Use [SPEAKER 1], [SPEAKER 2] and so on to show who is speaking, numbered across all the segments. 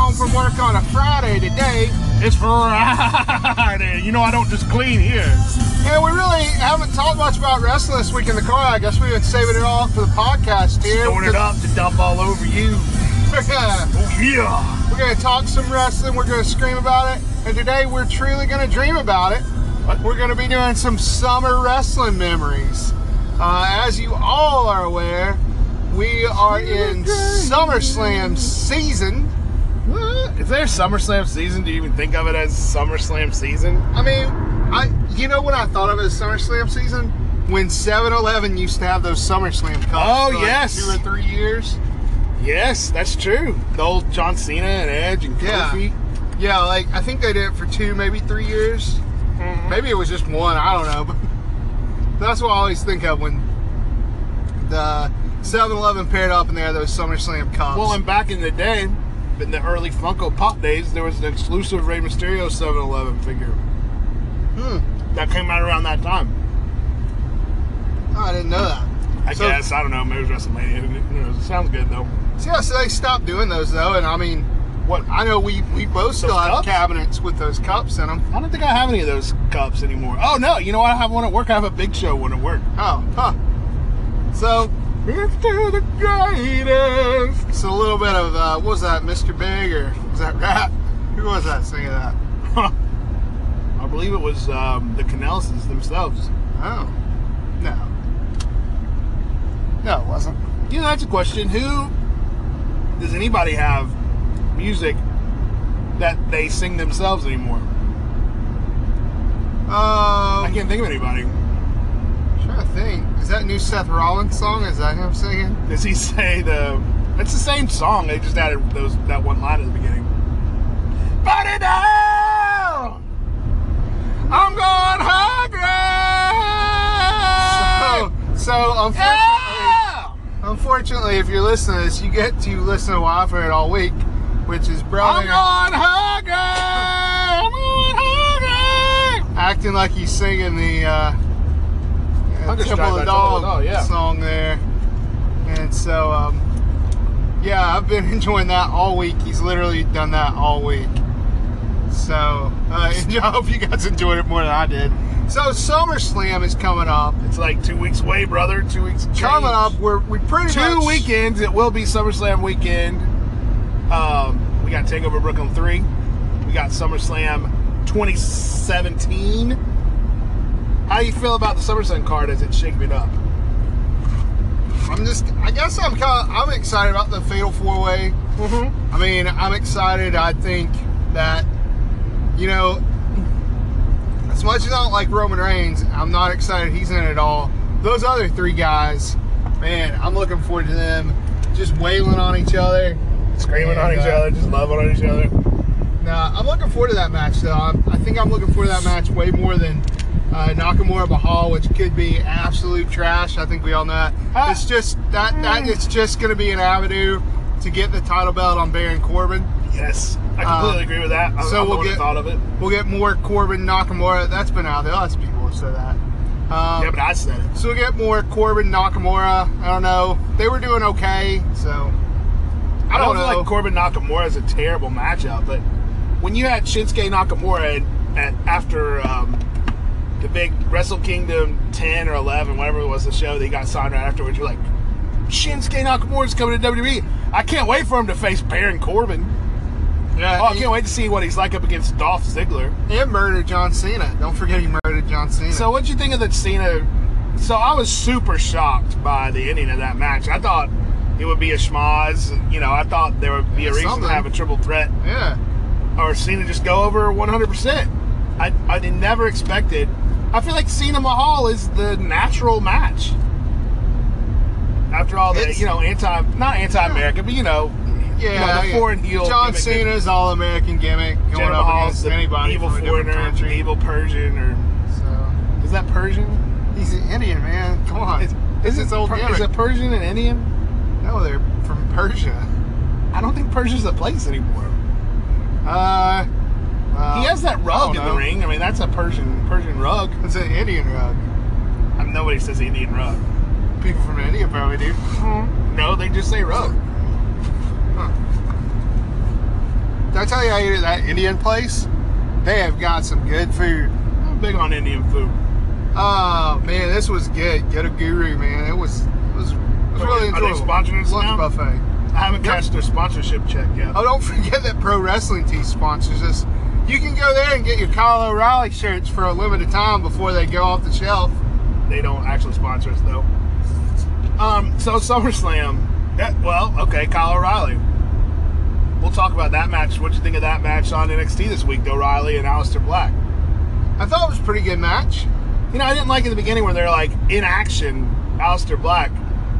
[SPEAKER 1] on a Friday today,
[SPEAKER 2] It's Friday. You know I don't just clean here.
[SPEAKER 1] and we really haven't talked much about wrestling this week in the car. I guess we've been saving it all for the podcast here.
[SPEAKER 2] Throwing it up to dump all over you.
[SPEAKER 1] We're gonna,
[SPEAKER 2] Oh yeah.
[SPEAKER 1] we're gonna talk some wrestling. We're gonna scream about it, and today we're truly gonna dream about it.
[SPEAKER 2] What?
[SPEAKER 1] We're gonna be doing some summer wrestling memories. Uh, as you all are aware, we are in SummerSlam season.
[SPEAKER 2] What? Is there SummerSlam season? Do you even think of it as SummerSlam season?
[SPEAKER 1] I mean, I you know what I thought of as SummerSlam season when 7-Eleven used to have those SummerSlam cups.
[SPEAKER 2] Oh,
[SPEAKER 1] for like
[SPEAKER 2] yes.
[SPEAKER 1] two or three years.
[SPEAKER 2] Yes, that's true. The old John Cena and Edge and
[SPEAKER 1] Yeah.
[SPEAKER 2] Kofi.
[SPEAKER 1] Yeah, like I think they did it for two, maybe three years.
[SPEAKER 2] Mm-hmm.
[SPEAKER 1] Maybe it was just one. I don't know. But that's what I always think of when the 7-Eleven paired up and they had those SummerSlam cups.
[SPEAKER 2] Well, and back in the day, in the early Funko Pop days, there was an exclusive Rey Mysterio 7-Eleven figure
[SPEAKER 1] hmm,
[SPEAKER 2] that came out around that time.
[SPEAKER 1] I didn't know that.
[SPEAKER 2] I
[SPEAKER 1] So-
[SPEAKER 2] guess I don't know. Maybe it was WrestleMania. Who knows? It sounds good though.
[SPEAKER 1] So, yeah, so they stopped doing those though, and I mean,
[SPEAKER 2] What? I,
[SPEAKER 1] I know we we both still
[SPEAKER 2] Those
[SPEAKER 1] have
[SPEAKER 2] cups?
[SPEAKER 1] cabinets with those cups in them.
[SPEAKER 2] I don't think I have any of those cups anymore. Oh no! You know what? I have one at work. I have a Big Show one at work.
[SPEAKER 1] Oh, huh. So
[SPEAKER 2] It's to the greatest.
[SPEAKER 1] it's a little bit of uh, what was that, Mr. Big, or was that rap? Who was that singing that?
[SPEAKER 2] I believe it was um, the Canelses themselves.
[SPEAKER 1] Oh, no, no, it wasn't.
[SPEAKER 2] You know, that's a question. Who does anybody have music that they sing themselves anymore?
[SPEAKER 1] Um,
[SPEAKER 2] I can't think of anybody.
[SPEAKER 1] trying to think. Is that new Seth Rollins song? Is that him singing?
[SPEAKER 2] Does he say the? It's the same song. They just added those that one line at the beginning. Burn it down. I'm going hungry. Ah!
[SPEAKER 1] Oh, so unfortunately,
[SPEAKER 2] yeah.
[SPEAKER 1] unfortunately, if you're listening to this, you get to listen to Wild for it all week, which is
[SPEAKER 2] I'm
[SPEAKER 1] Browning
[SPEAKER 2] going hungry. I'm going hungry.
[SPEAKER 1] acting like he's singing the uh, uh, Temple
[SPEAKER 2] Hunger Strike
[SPEAKER 1] of
[SPEAKER 2] by
[SPEAKER 1] the
[SPEAKER 2] Temple of
[SPEAKER 1] Dog,
[SPEAKER 2] the Dog, yeah.
[SPEAKER 1] song there. And so, um, yeah, I've been enjoying that all week. He's literally done that all week. So uh, I hope you guys enjoyed it more than I did. So SummerSlam is coming up.
[SPEAKER 2] It's like two weeks away, brother. Two weeks. and
[SPEAKER 1] Coming
[SPEAKER 2] change.
[SPEAKER 1] up, we're we pretty
[SPEAKER 2] two
[SPEAKER 1] much
[SPEAKER 2] weekends. It will be SummerSlam weekend. Um, we got Takeover Brooklyn three. We got SummerSlam 2017. How you feel about the SummerSlam card as it's shaping up?
[SPEAKER 1] I'm just. I guess I'm kind. Of, I'm excited about the Fatal Four Way.
[SPEAKER 2] Mm-hmm.
[SPEAKER 1] I mean, I'm excited. I think that, you know, as much as I don't like Roman Reigns, I'm not excited he's in it at all. Those other three guys, man, I'm looking forward to them just wailing on each other.
[SPEAKER 2] Screaming on
[SPEAKER 1] And,
[SPEAKER 2] each
[SPEAKER 1] uh,
[SPEAKER 2] other, just loving on each other.
[SPEAKER 1] Nah, I'm looking forward to that match, though. i I think I'm looking forward to that match way more than uh, Nakamura Bahal, which could be absolute trash. I think we all know that.
[SPEAKER 2] Ah. Mm.
[SPEAKER 1] It's just that, that it's just going to be an avenue to get the title belt on Baron Corbin.
[SPEAKER 2] Yes, I completely
[SPEAKER 1] Uh,
[SPEAKER 2] agree with that. I,
[SPEAKER 1] so
[SPEAKER 2] so I'm
[SPEAKER 1] we'll
[SPEAKER 2] we'll
[SPEAKER 1] get-
[SPEAKER 2] thought of it.
[SPEAKER 1] We'll get more Corbin Nakamura. That's been out there. Lots of people have said that. Um,
[SPEAKER 2] yeah, but I said it.
[SPEAKER 1] so we'll get more Corbin Nakamura. I don't know. They were doing okay, so
[SPEAKER 2] I don't,
[SPEAKER 1] know.
[SPEAKER 2] feel like Corbin Nakamura is a terrible matchup, but when you had Shinsuke Nakamura at, at after um, the big Wrestle Kingdom 10 or 11, whatever it was, the show that he got signed right afterwards, you're like, Shinsuke Nakamura's coming to WWE. I can't wait for him to face Baron Corbin.
[SPEAKER 1] yeah,
[SPEAKER 2] Oh, I
[SPEAKER 1] he-
[SPEAKER 2] can't wait to see what he's like up against Dolph Ziggler.
[SPEAKER 1] And murdered John Cena. Don't forget he murdered John Cena.
[SPEAKER 2] So, what'd you think of the Cena? So, I was super shocked by the ending of that match. I thought it would be a schmoz. You know, I thought there would be a reason
[SPEAKER 1] Something.
[SPEAKER 2] to have a triple threat
[SPEAKER 1] yeah,
[SPEAKER 2] or Cena just go over 100%. I, I did- never expected. I feel like Cena Mahal is the natural match. After all the,
[SPEAKER 1] It's-
[SPEAKER 2] you know, anti, not anti American, but you know,
[SPEAKER 1] yeah.
[SPEAKER 2] you know, the
[SPEAKER 1] yeah.
[SPEAKER 2] foreign heel.
[SPEAKER 1] John
[SPEAKER 2] gimmick that
[SPEAKER 1] Cena's all-American gimmick going
[SPEAKER 2] Jinder
[SPEAKER 1] up
[SPEAKER 2] Mahal's
[SPEAKER 1] against
[SPEAKER 2] the
[SPEAKER 1] anybody
[SPEAKER 2] evil
[SPEAKER 1] from a different
[SPEAKER 2] foreigner,
[SPEAKER 1] country.
[SPEAKER 2] evil Persian, or
[SPEAKER 1] So
[SPEAKER 2] is that Persian?
[SPEAKER 1] he's an Indian man. Come on,
[SPEAKER 2] Is,
[SPEAKER 1] It's
[SPEAKER 2] is,
[SPEAKER 1] his
[SPEAKER 2] it,
[SPEAKER 1] old
[SPEAKER 2] Per-
[SPEAKER 1] gimmick.
[SPEAKER 2] is it Persian and Indian?
[SPEAKER 1] no, they're from Persia.
[SPEAKER 2] I don't think Persia's a place anymore.
[SPEAKER 1] Uh, well,
[SPEAKER 2] he has that
[SPEAKER 1] I
[SPEAKER 2] rug
[SPEAKER 1] don't
[SPEAKER 2] in the
[SPEAKER 1] know.
[SPEAKER 2] ring. I mean, that's a Persian Persian rug.
[SPEAKER 1] It's an Indian rug.
[SPEAKER 2] I mean, nobody says Indian rug.
[SPEAKER 1] People from India probably do.
[SPEAKER 2] Uh-huh. No, they just say rug.
[SPEAKER 1] Huh. Did I tell you I ate at that Indian place? They have got some good food.
[SPEAKER 2] I'm big on Indian food.
[SPEAKER 1] Oh man, this was good. Get a guru, man. It was it was, it was
[SPEAKER 2] Are
[SPEAKER 1] really
[SPEAKER 2] they- are they
[SPEAKER 1] enjoyable.
[SPEAKER 2] sponsoring us
[SPEAKER 1] Lunch
[SPEAKER 2] now?
[SPEAKER 1] buffet.
[SPEAKER 2] I haven't
[SPEAKER 1] Yep.
[SPEAKER 2] cashed their sponsorship check yet.
[SPEAKER 1] Oh, don't forget that Pro Wrestling Tee sponsors us. You can go there and get your Kyle O'Reilly shirts for a limited time before they go off the shelf.
[SPEAKER 2] They don't actually sponsor us though. Um, so SummerSlam. Yeah, well, okay, Kyle O'Reilly. We'll talk about that match. What'd you think of that match on NXT this week, though, Riley and Aleister Black?
[SPEAKER 1] I thought it was a pretty good match.
[SPEAKER 2] You know, I didn't like in the beginning where they're like in action, Aleister Black,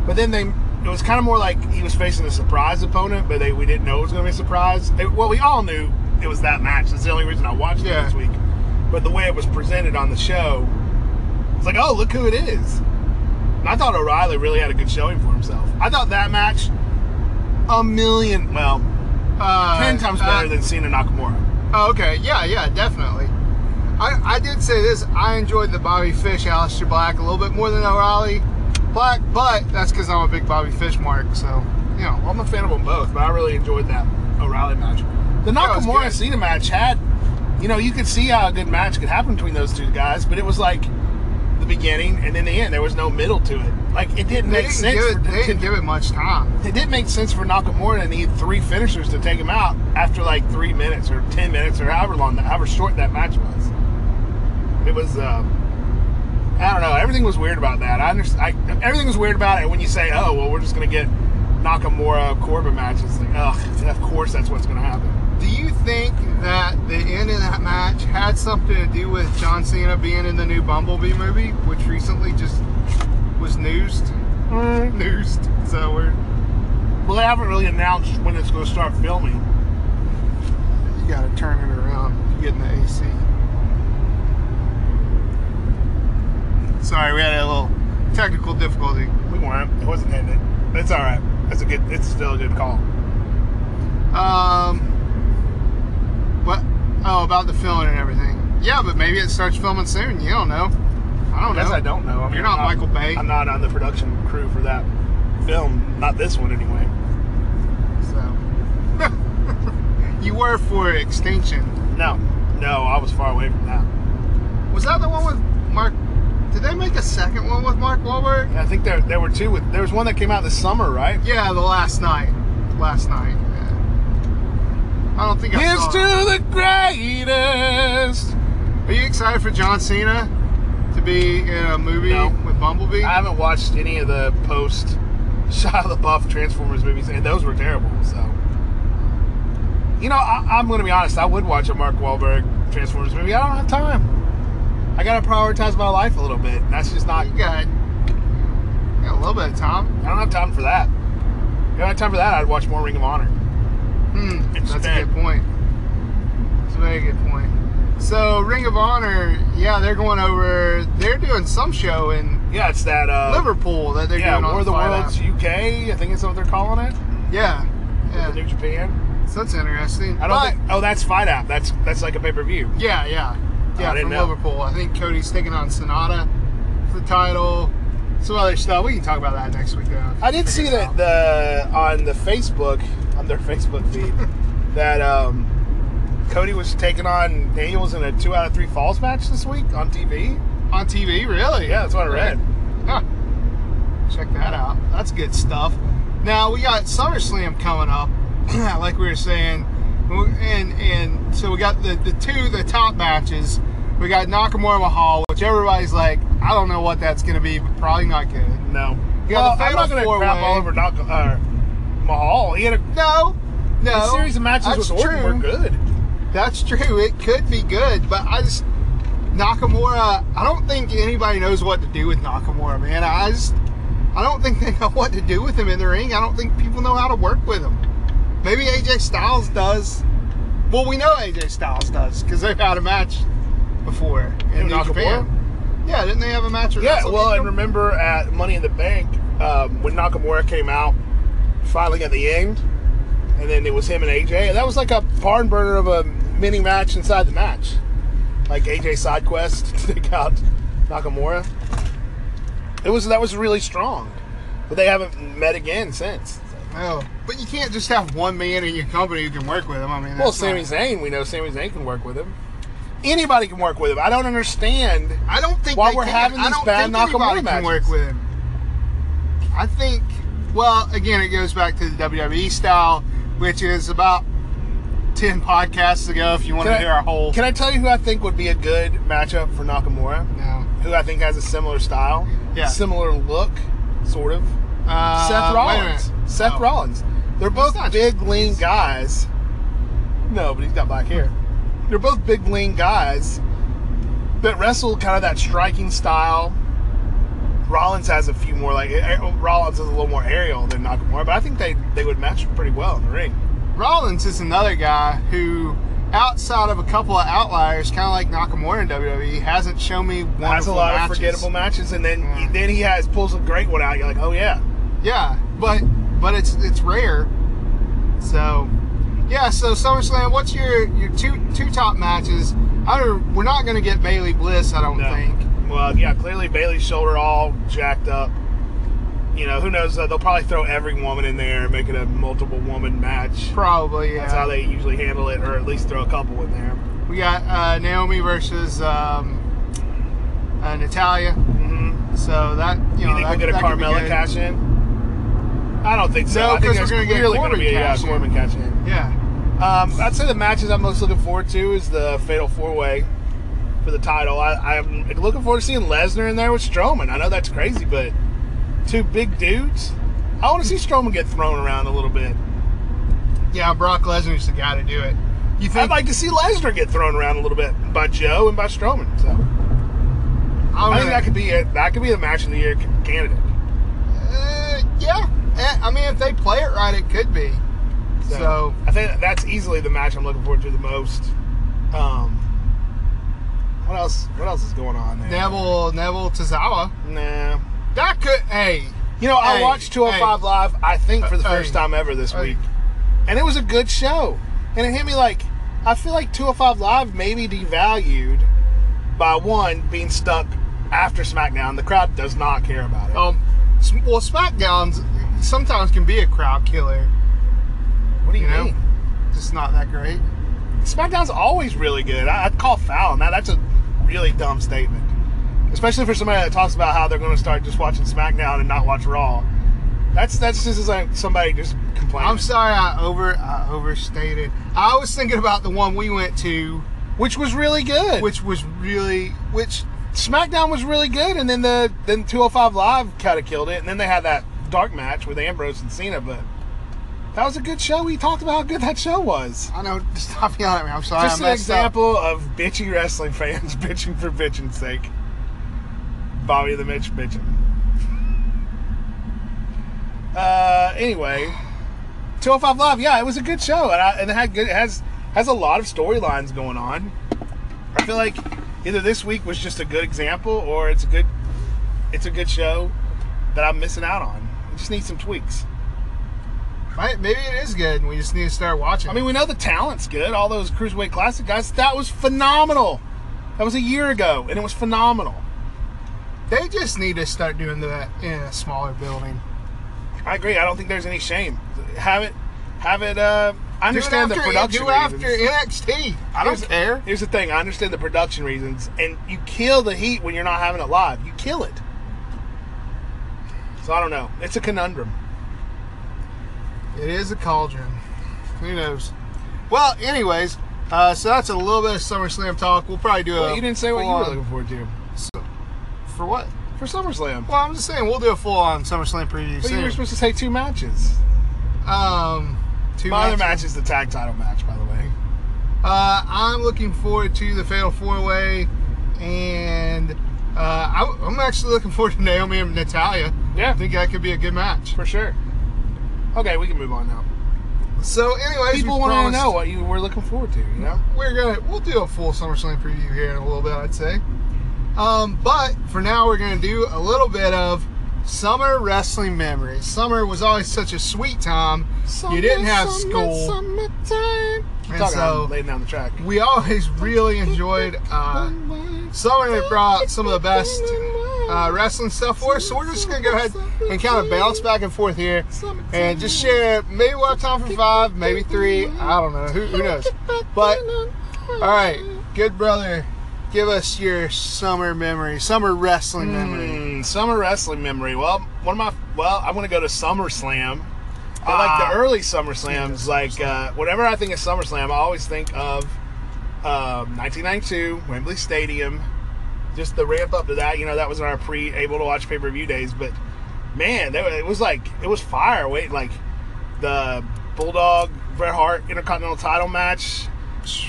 [SPEAKER 2] but then they it was kind of more like he was facing a surprise opponent, but they we didn't know it was going to be a surprise. It- well, we all knew it was that match. That's the only reason I watched
[SPEAKER 1] Yeah.
[SPEAKER 2] it this week. But the way it was presented on the show, it's like, oh, look who it is. And I thought O'Reilly really had a good showing for himself. I thought that match a million, well,
[SPEAKER 1] Uh,
[SPEAKER 2] ten times better
[SPEAKER 1] uh,
[SPEAKER 2] than Cena Nakamura.
[SPEAKER 1] Oh, okay. Yeah, yeah, definitely. I, I did say this. I enjoyed the Bobby Fish, Aleister Black, a little bit more than O'Reilly Black, but that's because I'm a big Bobby Fish mark. So, you know,
[SPEAKER 2] Well, I'm a fan of them both, but I really enjoyed that O'Reilly match. The
[SPEAKER 1] Yeah, it was
[SPEAKER 2] Nakamura
[SPEAKER 1] good.
[SPEAKER 2] Cena match had, you know, you could see how a good match could happen between those two guys, but it was like the beginning and then the end. There was no middle to it. Like it didn't
[SPEAKER 1] they
[SPEAKER 2] make
[SPEAKER 1] didn't,
[SPEAKER 2] sense.
[SPEAKER 1] give
[SPEAKER 2] for-
[SPEAKER 1] it, they didn't give it much time.
[SPEAKER 2] it didn't make sense for Nakamura to need three finishers to take him out after like three minutes or ten minutes or however long that, however short that match was. It was, um, I don't know. Everything was weird about that. I understand. I, everything was weird about it. When you say, "Oh, well, we're just gonna get Nakamura Corbin match," it's like, ugh, of course that's what's gonna happen.
[SPEAKER 1] Do you think that the end of that match had something to do with John Cena being in the new Bumblebee movie, which recently just was newsed? Mm. Newsed. Is that a word?
[SPEAKER 2] Well, they haven't really announced when it's gonna start filming.
[SPEAKER 1] You gotta turn it around. You get in the AC. Sorry, we had a little technical difficulty.
[SPEAKER 2] We weren't. It wasn't ended. It's all right. That's a good. It's still a good call.
[SPEAKER 1] Um, what? Oh, about the filming and everything. Yeah, but maybe it starts filming soon. You don't know. I don't
[SPEAKER 2] I guess
[SPEAKER 1] know.
[SPEAKER 2] I don't know. I mean,
[SPEAKER 1] You're not
[SPEAKER 2] I'm
[SPEAKER 1] Michael Bay.
[SPEAKER 2] I'm not on the production crew for that film. Not this one, anyway.
[SPEAKER 1] So. you were for Extinction.
[SPEAKER 2] No, no, I was far away from that.
[SPEAKER 1] Was that the one with Mark? Did they make a second one with Mark Wahlberg?
[SPEAKER 2] And I think there there were two. With, there was one that came out this summer, right?
[SPEAKER 1] Yeah, the last night. Last night. Yeah. I don't think I
[SPEAKER 2] Here's
[SPEAKER 1] saw
[SPEAKER 2] to
[SPEAKER 1] it.
[SPEAKER 2] the greatest.
[SPEAKER 1] Are you excited for John Cena to be in a movie
[SPEAKER 2] No.
[SPEAKER 1] with Bumblebee?
[SPEAKER 2] I haven't watched any of the post Shia LaBeouf Transformers movies, and those were terrible. So, you know, I, I'm going to be honest. I would watch a Mark Wahlberg Transformers movie. I don't have time. I got to prioritize my life a little bit. That's just not.
[SPEAKER 1] you got, you got a little bit of time.
[SPEAKER 2] I don't have time for that. If I had time for that, I'd watch more Ring of Honor.
[SPEAKER 1] Hmm,
[SPEAKER 2] It's
[SPEAKER 1] that's a
[SPEAKER 2] bad.
[SPEAKER 1] good point. It's a very good point. So Ring of Honor, yeah, they're going over. They're doing some show in
[SPEAKER 2] Yeah, it's that uh,
[SPEAKER 1] Liverpool that they're
[SPEAKER 2] Yeah,
[SPEAKER 1] doing on
[SPEAKER 2] War of the
[SPEAKER 1] Fight
[SPEAKER 2] Worlds
[SPEAKER 1] App.
[SPEAKER 2] UK. I think it's what they're calling it.
[SPEAKER 1] Yeah,
[SPEAKER 2] The New
[SPEAKER 1] yeah.
[SPEAKER 2] Japan.
[SPEAKER 1] So that's interesting.
[SPEAKER 2] I don't
[SPEAKER 1] But-
[SPEAKER 2] think. Oh, that's Fight App. That's that's like a pay per view.
[SPEAKER 1] Yeah, yeah. Yeah,
[SPEAKER 2] didn't
[SPEAKER 1] from
[SPEAKER 2] know.
[SPEAKER 1] Liverpool. I think Cody's taking on Sonata for the title. Some other stuff. We can talk about that next week, though.
[SPEAKER 2] I did see
[SPEAKER 1] Figure it
[SPEAKER 2] that
[SPEAKER 1] out.
[SPEAKER 2] the on the Facebook on their Facebook feed that um, Cody was taking on Daniels in a two out of three falls match this week on TV.
[SPEAKER 1] on TV, really?
[SPEAKER 2] Yeah, that's what I read.
[SPEAKER 1] Huh. Check that out. That's good stuff. Now we got SummerSlam coming up, like we were saying, and and so we got the the two the top matches. We got Nakamura Mahal, which everybody's like, I don't know what that's gonna be, but probably not good.
[SPEAKER 2] No,
[SPEAKER 1] Yeah,
[SPEAKER 2] well,
[SPEAKER 1] the
[SPEAKER 2] I'm not
[SPEAKER 1] fatal
[SPEAKER 2] going to crap
[SPEAKER 1] four-way.
[SPEAKER 2] all over Nak- uh, Mahal. He had a
[SPEAKER 1] No, no.
[SPEAKER 2] the series of matches
[SPEAKER 1] that's
[SPEAKER 2] with Orton
[SPEAKER 1] true.
[SPEAKER 2] were good.
[SPEAKER 1] That's true. It could be good, but I just Nakamura. I don't think anybody knows what to do with Nakamura, man. I just I don't think they know what to do with him in the ring. I don't think people know how to work with him. Maybe AJ Styles does. Well, we know AJ Styles does because they've had a match before in
[SPEAKER 2] Who,
[SPEAKER 1] New
[SPEAKER 2] Nakamura?
[SPEAKER 1] Japan. Yeah, didn't they have a match? at
[SPEAKER 2] Yeah, well,
[SPEAKER 1] WrestleKingdom?
[SPEAKER 2] and remember at Money in the Bank um, when Nakamura came out, finally at the end, and then it was him and AJ. And that was like a barn burner of a mini match inside the match. Like AJ side quest to take out Nakamura. It was that was really strong, but they haven't met again since.
[SPEAKER 1] No, Oh, but you can't just have one man in your company who can work with him. I mean,
[SPEAKER 2] Well,
[SPEAKER 1] that's
[SPEAKER 2] Sami
[SPEAKER 1] not-
[SPEAKER 2] Zayn, we know Sami Zayn can work with him. Anybody can work with him. I don't understand.
[SPEAKER 1] I don't think
[SPEAKER 2] While
[SPEAKER 1] they
[SPEAKER 2] we're
[SPEAKER 1] can.
[SPEAKER 2] having
[SPEAKER 1] I
[SPEAKER 2] these
[SPEAKER 1] don't
[SPEAKER 2] bad
[SPEAKER 1] think
[SPEAKER 2] Nakamura
[SPEAKER 1] anybody can
[SPEAKER 2] matches.
[SPEAKER 1] work with him. I think. Well, again, it goes back to the WWE style, which is about ten podcasts ago. If you want to
[SPEAKER 2] Can I-
[SPEAKER 1] hear our whole,
[SPEAKER 2] Can I tell you who I think would be a good matchup for Nakamura?
[SPEAKER 1] no.
[SPEAKER 2] Who I think has a similar style,
[SPEAKER 1] Yeah.
[SPEAKER 2] similar look, sort of.
[SPEAKER 1] Uh,
[SPEAKER 2] Seth
[SPEAKER 1] wait a
[SPEAKER 2] Rollins.
[SPEAKER 1] minute.
[SPEAKER 2] Seth
[SPEAKER 1] No.
[SPEAKER 2] Rollins. They're both
[SPEAKER 1] not-
[SPEAKER 2] big, lean guys. No, but he's got black hair. They're both big, lean guys that wrestle kind of that striking style. Rollins has a few more like eh, Rollins is a little more aerial than Nakamura, but I think they they would match pretty well in the ring.
[SPEAKER 1] Rollins is another guy who, outside of a couple of outliers, kind of like Nakamura in WWE, hasn't shown me wonderful
[SPEAKER 2] Has a lot
[SPEAKER 1] matches.
[SPEAKER 2] of forgettable matches, and then
[SPEAKER 1] Yeah.
[SPEAKER 2] then he has pulls a great one out. You're like, oh yeah,
[SPEAKER 1] Yeah, but but it's it's rare. So yeah, so SummerSlam. What's your your two two top matches? I don't. We're not going to get Bailey Bliss. I don't
[SPEAKER 2] No.
[SPEAKER 1] think.
[SPEAKER 2] Well, yeah, clearly Bailey's shoulder all jacked up. You know, who knows? Uh, they'll probably throw every woman in there and make it a multiple woman match.
[SPEAKER 1] Probably yeah.
[SPEAKER 2] That's how they usually handle it, or at least throw a couple in there.
[SPEAKER 1] we got uh, Naomi versus um, uh, Natalia.
[SPEAKER 2] Mm-hmm.
[SPEAKER 1] So that you
[SPEAKER 2] You
[SPEAKER 1] know
[SPEAKER 2] think
[SPEAKER 1] that,
[SPEAKER 2] we'll get a
[SPEAKER 1] that could be
[SPEAKER 2] Carmella
[SPEAKER 1] good.
[SPEAKER 2] cash in? I don't think so.
[SPEAKER 1] No,
[SPEAKER 2] I
[SPEAKER 1] 'cause
[SPEAKER 2] think there's
[SPEAKER 1] we're gonna get
[SPEAKER 2] clearly
[SPEAKER 1] Corbin
[SPEAKER 2] gonna be a yeah,
[SPEAKER 1] cash in.
[SPEAKER 2] Corbin cash in.
[SPEAKER 1] Yeah.
[SPEAKER 2] Um, I'd say the matches I'm most looking forward to is the Fatal Four Way for the title. I, I'm looking forward to seeing Lesnar in there with Strowman. I know that's crazy, but two big dudes. I want to see Strowman get thrown around a little bit.
[SPEAKER 1] Yeah. Brock Lesnar's the guy to do it. You think?
[SPEAKER 2] I'd like to see Lesnar get thrown around a little bit by Joe and by Strowman. So
[SPEAKER 1] don't
[SPEAKER 2] I think
[SPEAKER 1] know.
[SPEAKER 2] that could be it. That could be the match of the year c- candidate.
[SPEAKER 1] Uh, yeah. Eh, I mean, if they play it right, it could be.
[SPEAKER 2] So,
[SPEAKER 1] So-
[SPEAKER 2] I think that's easily the match I'm looking forward to the most. Um, what else? What else is going on there?
[SPEAKER 1] Neville, Neville Tozawa.
[SPEAKER 2] Nah.
[SPEAKER 1] That could. Hey,
[SPEAKER 2] You know, I
[SPEAKER 1] Hey,
[SPEAKER 2] watched 205
[SPEAKER 1] hey.
[SPEAKER 2] Live, I think, for the
[SPEAKER 1] Hey,
[SPEAKER 2] first time ever this
[SPEAKER 1] hey.
[SPEAKER 2] week. And it was a good show. And it hit me like, I feel like 205 Live may be devalued by one, being stuck after SmackDown. The crowd does not care about it.
[SPEAKER 1] Um, s- well, SmackDowns sometimes can be a crowd killer.
[SPEAKER 2] what do
[SPEAKER 1] You know, just not that great.
[SPEAKER 2] SmackDown's always really good. I, I'd call foul on that. That's a really dumb statement. Especially for somebody that talks about how they're going to start just watching SmackDown and not watch Raw. That's that's just as like somebody just complaining.
[SPEAKER 1] I'm sorry, I over I overstated. I was thinking about the one we went to,
[SPEAKER 2] which was really good.
[SPEAKER 1] which was really which.
[SPEAKER 2] SmackDown was really good, and then the then 205 Live kind of killed it, and then they had that dark match with Ambrose and Cena, but that was a good show. We talked about how good that show was.
[SPEAKER 1] I know. Stop yelling at me. I'm sorry.
[SPEAKER 2] Just
[SPEAKER 1] I
[SPEAKER 2] an
[SPEAKER 1] messed up.
[SPEAKER 2] example of bitchy wrestling fans bitching for bitching's sake. Bobby the Mitch bitching. Uh, anyway, 205 Live, yeah, it was a good show, and, I, and it had good, it has has a lot of storylines going on. I feel like either this week was just a good example, or it's a good it's a good show that I'm missing out on. It just needs some tweaks.
[SPEAKER 1] Right? Maybe it is good. and We just need to start watching.
[SPEAKER 2] I mean, we know the talent's good. All those Cruiserweight Classic guys, that was phenomenal. That was a year ago, and it was phenomenal.
[SPEAKER 1] they just need to start doing that in a smaller building.
[SPEAKER 2] I agree. I don't think there's any shame. Have it, have it. Uh, I
[SPEAKER 1] Do it
[SPEAKER 2] understand the
[SPEAKER 1] after-
[SPEAKER 2] production.
[SPEAKER 1] Do it after
[SPEAKER 2] reasons.
[SPEAKER 1] NXT. I don't
[SPEAKER 2] Here's-
[SPEAKER 1] care.
[SPEAKER 2] Here's the thing. I understand the production reasons, and you kill the heat when you're not having it live. You kill it. So I don't know. It's a conundrum.
[SPEAKER 1] It is a cauldron. Who knows? Well, anyways, uh, so that's a little bit of SummerSlam talk. We'll probably do a.
[SPEAKER 2] Well, you didn't say what you were
[SPEAKER 1] full-on-
[SPEAKER 2] looking forward to
[SPEAKER 1] for what?
[SPEAKER 2] for SummerSlam.
[SPEAKER 1] Well, I'm just saying we'll do a full-on SummerSlam preview
[SPEAKER 2] But you were
[SPEAKER 1] soon.
[SPEAKER 2] supposed to say two matches.
[SPEAKER 1] um, two
[SPEAKER 2] My other
[SPEAKER 1] matches.
[SPEAKER 2] match is the tag title match, by the way.
[SPEAKER 1] Uh, I'm looking forward to the Fatal Four Way, and uh, I, I'm actually looking forward to Naomi and Natalia.
[SPEAKER 2] Yeah.
[SPEAKER 1] I think that could be a good match.
[SPEAKER 2] For sure. Okay, we can move on now.
[SPEAKER 1] So, anyways, we
[SPEAKER 2] People want to
[SPEAKER 1] promised-
[SPEAKER 2] know what you were looking forward to, you know?
[SPEAKER 1] we're gonna we'll do a full SummerSlam preview here in a little bit, I'd say. Um, but for now, we're gonna do a little bit of summer wrestling memories. Summer was always such a sweet time. you didn't have school. And
[SPEAKER 2] Talking
[SPEAKER 1] so-
[SPEAKER 2] about laying down the track.
[SPEAKER 1] We always really enjoyed uh, summer. That brought some of the best uh, wrestling stuff for us. So we're just gonna go ahead and kind of bounce back and forth here, and just share. Maybe we'll have time for five, maybe three. I don't know. Who, who knows? But all right, good brother, give us your summer memory, summer wrestling memory.
[SPEAKER 2] Hmm, summer wrestling memory. Well, one of my well, I'm gonna go to SummerSlam. I like
[SPEAKER 1] Ah.
[SPEAKER 2] the early SummerSlams. Like uh, whenever I think of SummerSlam, I always think of um, 1992 Wembley Stadium. Just the ramp up to that. You know, that was in our pre able to watch pay per view days. But man, that, it was like it was fire. Wait, like the Bulldog Bret Hart Intercontinental Title match.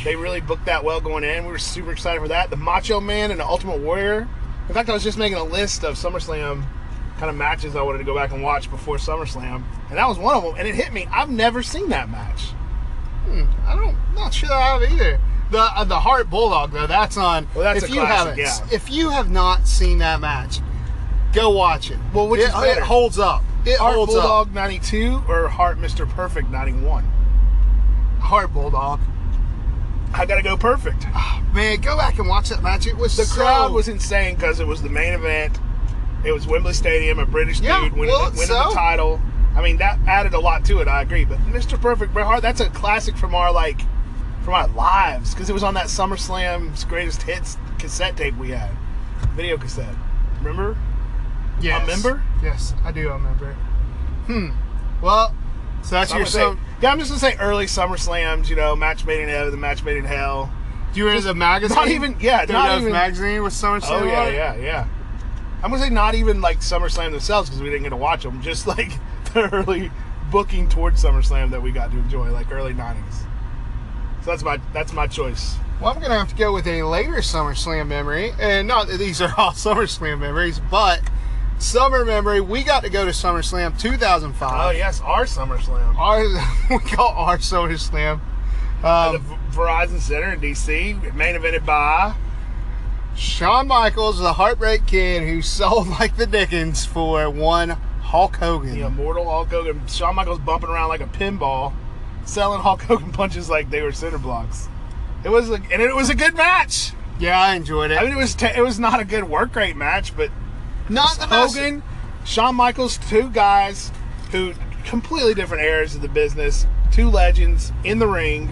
[SPEAKER 2] They really booked that well going in. We were super excited for that. The Macho Man and the Ultimate Warrior. In fact, I was just making a list of SummerSlam kind of matches I wanted to go back and watch before SummerSlam, and that was one of them. And it hit me. I've never seen that match.
[SPEAKER 1] I don't, not sure I have either. The uh, the Heart Bulldog though, that's on.
[SPEAKER 2] Well, that's
[SPEAKER 1] if
[SPEAKER 2] a
[SPEAKER 1] you haven't,
[SPEAKER 2] classic, yeah.
[SPEAKER 1] If you have not seen that match, go watch it.
[SPEAKER 2] Well, which
[SPEAKER 1] it,
[SPEAKER 2] is better?
[SPEAKER 1] it holds up. It
[SPEAKER 2] Heart
[SPEAKER 1] holds
[SPEAKER 2] Bulldog '92 or Heart Mr. Perfect '91.
[SPEAKER 1] up. Heart Bulldog.
[SPEAKER 2] I gotta go perfect.
[SPEAKER 1] Man, go back and watch that match. It was
[SPEAKER 2] The
[SPEAKER 1] so-
[SPEAKER 2] crowd was insane because it was the main event. It was Wembley Stadium, a British
[SPEAKER 1] Yeah,
[SPEAKER 2] dude winning,
[SPEAKER 1] well,
[SPEAKER 2] the, winning
[SPEAKER 1] so?
[SPEAKER 2] the title. I mean, that added a lot to it. I agree. But Mr. Perfect, Bret Hart, that's a classic from our like, from our lives because it was on that SummerSlam's Greatest Hits cassette tape we had, video cassette. Remember?
[SPEAKER 1] Yes.
[SPEAKER 2] member?
[SPEAKER 1] Yes, I do. I remember. Hmm. Well, so that's
[SPEAKER 2] I'm
[SPEAKER 1] your
[SPEAKER 2] gonna say-
[SPEAKER 1] sum.
[SPEAKER 2] yeah, I'm just gonna say early SummerSlams. You know, match made in heaven, the match made in hell.
[SPEAKER 1] You were in the magazine.
[SPEAKER 2] Not even- yeah,
[SPEAKER 1] WWF
[SPEAKER 2] not even-
[SPEAKER 1] magazine with SummerSlam.
[SPEAKER 2] Oh yeah,
[SPEAKER 1] on it?
[SPEAKER 2] yeah, yeah. I'm gonna say not even like SummerSlam themselves because we didn't get to watch them. Just like the early booking towards SummerSlam that we got to enjoy, like early '90s. So that's my that's my choice.
[SPEAKER 1] Well, I'm gonna have to go with a later SummerSlam memory, and not that these are all SummerSlam memories, but summer memory. We got to go to SummerSlam 2005.
[SPEAKER 2] Oh yes, our SummerSlam.
[SPEAKER 1] Our we call our SummerSlam.
[SPEAKER 2] At the
[SPEAKER 1] Um,
[SPEAKER 2] V- Verizon Center in DC, main evented by
[SPEAKER 1] Shawn Michaels, the Heartbreak Kid, who sold like the Dickens for one Hulk Hogan.
[SPEAKER 2] the immortal Hulk Hogan. Shawn Michaels bumping around like a pinball, selling Hulk Hogan punches like they were center blocks. It was a, and it was a good match.
[SPEAKER 1] Yeah, I enjoyed it.
[SPEAKER 2] I mean, it was te- it was not a good work rate match, but
[SPEAKER 1] not the best-
[SPEAKER 2] Hogan, Shawn Michaels, two guys who completely different eras of the business, two legends in the ring.